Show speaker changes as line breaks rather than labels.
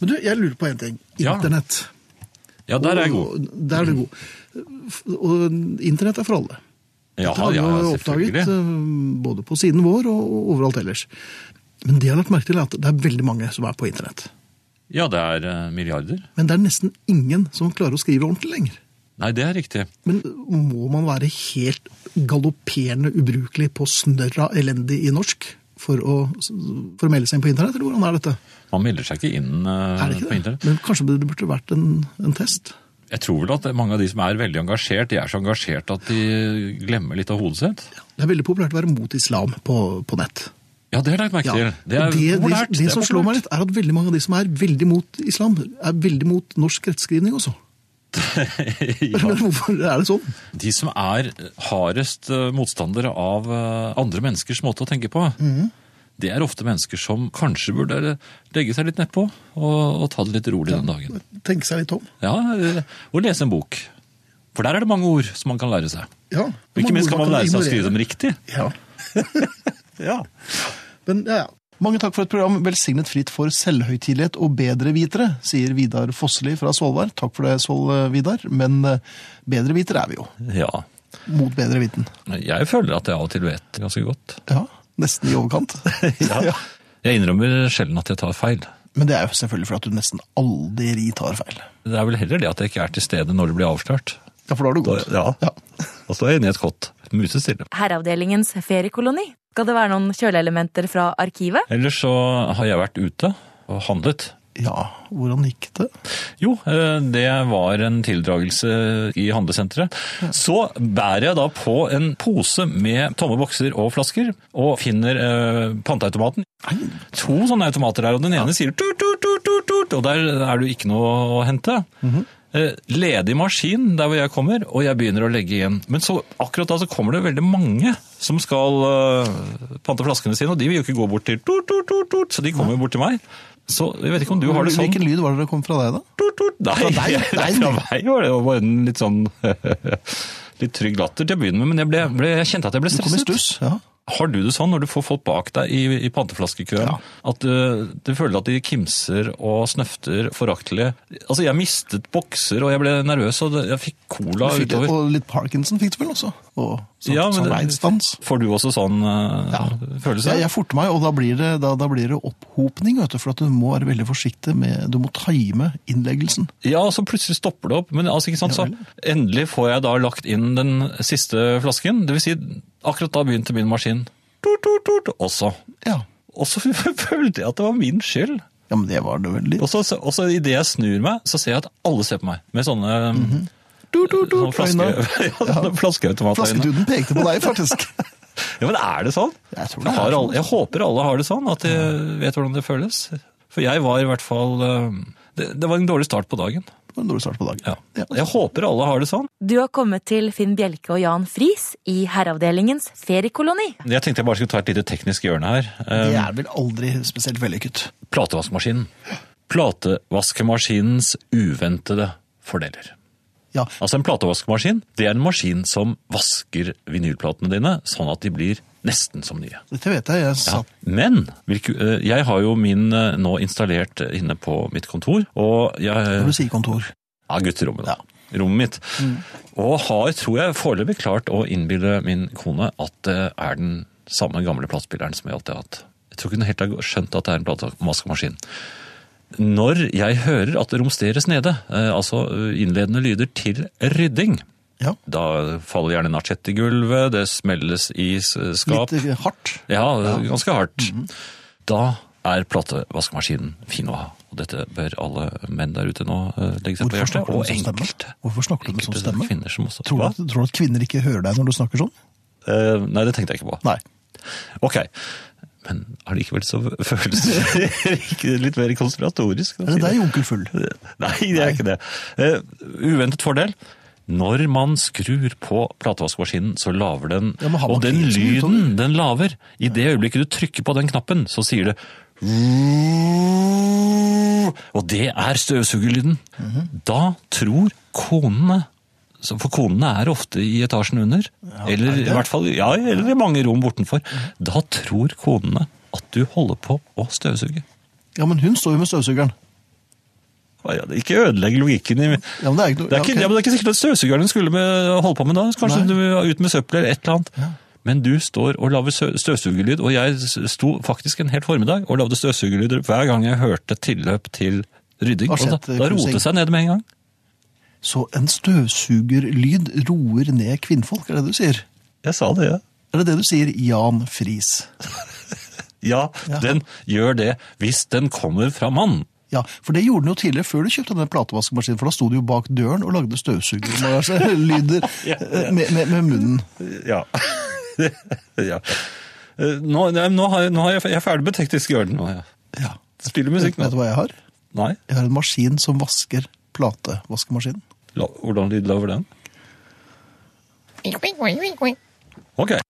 Men du, jeg lurer på én ting.
Ja.
Internett.
Ja, der er jeg
Og-
god.
og Der er du god. Og internett er for alle.
Ja,
Det har vi
ja,
jo oppdaget
selvfølgelig.
eh, både på siden vår og og overalt ellers. Men det jeg har lagt merke til er at det er veldig mange som er på internett.
Ja, det er eh, milliarder.
Men det er nesten ingen som klarer å skrive ordentlig lenger.
Nei, det er riktig.
Men må man være helt galopperende ubrukelig på snørra elendig i norsk for å, for å melde seg inn på internett, eller hvordan er dette?
Man melder seg ikke inn eh,
Er det
på
ikke det?
internett.
Men kanskje det burde vært en, en test?
Jeg tror vel at mange av de som er veldig engasjert, de er så engasjert at de glemmer litt av hodet sitt.
Det er veldig populært å være mot islam på, på nett.
Ja, det har jeg lagt merke
Ja.
til. Det er
Og det, det,
populært.
det,
er
som slår meg
populært.
litt, er at veldig mange av de som er veldig mot islam, er veldig mot norsk rettskrivning også.
ja.
Hvorfor er det sånn?
De som er hardest eh, motstandere av eh, andre menneskers måte å tenke på,
Mhm.
det er ofte mennesker som kanskje burde legge seg litt nedpå og, og ta det litt rolig den dagen.
Tenke seg litt om.
Ja, eh, og lese en bok. For der er det mange ord som man kan lære seg.
Ja.
Og Ikke minst kan man lære seg å skrive
ignorere.
dem riktig.
Ja.
Ja.
Men, ja, ja. Mange takk for et program velsignet fritt for selvhøytidelighet og bedrevitere, sier Vidar Fosseli fra Svolvær. Takk for det, Sol Vidar. Men eh, bedrevitere er vi jo.
ja.
Mot bedre viten.
Jeg føler at jeg av og til vet ganske godt.
Ja, nesten i overkant. Ja.
Jeg innrømmer sjelden at jeg tar feil.
Men det er jo selvfølgelig fordi at du nesten aldri tar feil.
Det er vel heller det at jeg ikke er til stede når det blir avslørt.
Ja, for da har du gått.
Da- ja. Da står jeg inne i et kott, musestille.
Herreavdelingens feriekoloni. Skal det være noen kjøleelementer fra arkivet?
Ellers så har jeg vært ute og handlet.
Ja, hvordan gikk det?
Jo, eh, det var en tildragelse i handlesenteret. Så bærer jeg da på en pose med tomme bokser og flasker, og finner eh, panteautomaten. To sånne automater der, og den ene sier tut, tut, tut, tut, tut, og der er det jo ikke noe å hente. Eh, Ledig maskin der hvor jeg kommer, og jeg begynner å legge igjen. Men så, akkurat da så kommer det veldig mange som skal eh, pante flaskene sine, og de vil jo ikke gå bort til tut, tut, tut, tut, så de kommer jo bort til meg. Så jeg vet ikke om du har det sånn.
Hvilken lyd var det det kom fra deg, da?
Tut, tut. Nei,
Fra deg?
Nei, fra meg var det jo bare en litt sånn litt trygg latter til å begynne med, men jeg, ble, ble, jeg kjente at jeg ble
Du kom i
stresset.
stuss. Ja.
Har du det sånn når du får folk bak deg i, i panteflaskekøen,
Ja.
at du, du føler at de kimser og snøfter foraktelig? Altså, jeg mistet bokser, og jeg ble nervøs, og det- jeg fikk cola
Du fikk-
utover.
Og litt Parkinson fikk du vel også? Og sånn,
Ja, men
sånn
det-
reinsdans.
Får du også sånn eh,
Ja.
følelse?
Ja, jeg forter meg, og da blir det, da, da blir det opphopning, vet du, for at du må være veldig forsiktig med Du må time innleggelsen.
Ja, og så plutselig stopper det opp. Men altså, ikke sant, så endelig får jeg da lagt inn den siste flasken. Det vil si, akkurat da begynte min maskin tut, tut, tut, også.
Ja.
Og så følte jeg at det var min skyld.
ja, men det var det veldig.
Og så, og så idet jeg snur meg, så ser jeg at alle ser på meg med sånne,
Mhm. Du, du, du,
sånne flaske,
Trine.
ja, sånne flaskeautomater. inne.
Flasketuten pekte på deg, faktisk.
Ja, men er det sånn?
Jeg tror det
har
er sånn.
alle, jeg håper alle har det sånn, at de vet hvordan det føles. For jeg var i hvert fall eh, Det, det var en dårlig start på dagen.
Det var en dårlig start på dagen.
Ja. Jeg håper alle har det sånn.
Du har kommet til Finn Bjelke og Jan Friis i Herreavdelingens feriekoloni.
Jeg tenkte jeg bare skulle ta et lite teknisk hjørne her.
Det
Eh,
er vel aldri spesielt vellykket.
Platevaskemaskinen. Platevaskmaskinens uventede fordeler.
Ja,
Altså En platevaskemaskin det er en maskin som vasker vinylplatene dine sånn at de blir nesten som nye.
dette vet jeg. Jeg
Ja.
satt
Men hvilke, eh, jeg har jo min eh, nå installert eh, inne på mitt kontor. Og jeg,
når du sier kontor.
Ja, gutterommet, da. Rommet mitt. Og har, tror jeg, foreløpig klart å innbille min kone at det er den samme gamle platespilleren som jeg alltid har hatt. Jeg tror ikke hun helt har skjønt at det er en platemaskemaskin. Når jeg hører at det romsteres nede, eh, altså eh, innledende lyder til rydding,
Ja.
da faller gjerne nachett i gulvet, det smelles i s- skap.
Litt eh, hardt.
Ja, ganske hardt.
Mhm.
Da er platevaskemaskinen fin å ha. Og dette bør alle menn der ute nå eh, legge seg på
Hvorfor
hjertet.
snakker du
Og
med sånn stemme?
enkelte,
Hvorfor snakker du med sånn
enkelte
stemme?
kvinner som også
Tror
Hva?
du, at, tror du at kvinner ikke hører deg når du snakker sånn?
Eh, Nei, det tenkte jeg ikke på.
Nei.
Ok. Men allikevel så føles det ikke litt mer konspiratorisk.
Er det deg, onkel Full?
Nei, det er ikke det. Eh, uventet fordel. Når man skrur på platevaskemaskinen, så laver den,
Ja, men har man
og den
ikke skrudd
lyden den laver, i det øyeblikket du trykker på den knappen, så sier det Og det er støvsugerlyden.
Mhm.
Da tror konene så- for konene er ofte i etasjen under, eller i hvert fall ja, eller i mange rom bortenfor.
Mhm.
Da tror konene at du holder på å støvsuge.
Ja, men hun står jo med støvsugeren.
Ja, det- Ikke ødelegg logikken i
Ja, men det er ikke noe...
det er, ikke,
ok.
ja, men det er ikke sikkert at støvsugeren skulle med, holde på med da. Kanskje
Nei.
du var ut med søppel eller et eller annet. Men du står og lager sø- støvsugerlyd, og jeg s- sto faktisk en hel formiddag og lagde støvsugerlyder hver gang jeg hørte tilløp til rydding.
Hva
Og da,
skjedde,
da rotet
Knusing?
det seg ned med en gang.
Så en støvsugerlyd roer ned kvinnfolk, er det du sier?
Jeg sa det, ja.
Er det det du sier, Jan Friis?
Ja,
Ja.
den gjør det hvis den kommer fra mannen.
Ja, for det gjorde den jo tidligere før du kjøpte denne platevaskemaskinen, for da sto du jo bak døren og lagde støvsugerlyder
Ja, ja.
med, med, med munnen.
Ja. ja. Eh, Nå, nei, nå, har, jeg- nå har jeg, jeg er ferdig med teknisk hjørne nå. Ja.
Ja.
Spiller musikk
Vet du
nå.
hva jeg har?
Nei,
Jeg har en maskin som vasker platevaskemaskinen.
La, hvordan lyd lager den?
Wink, wink, wink, wink, wink.
Ok.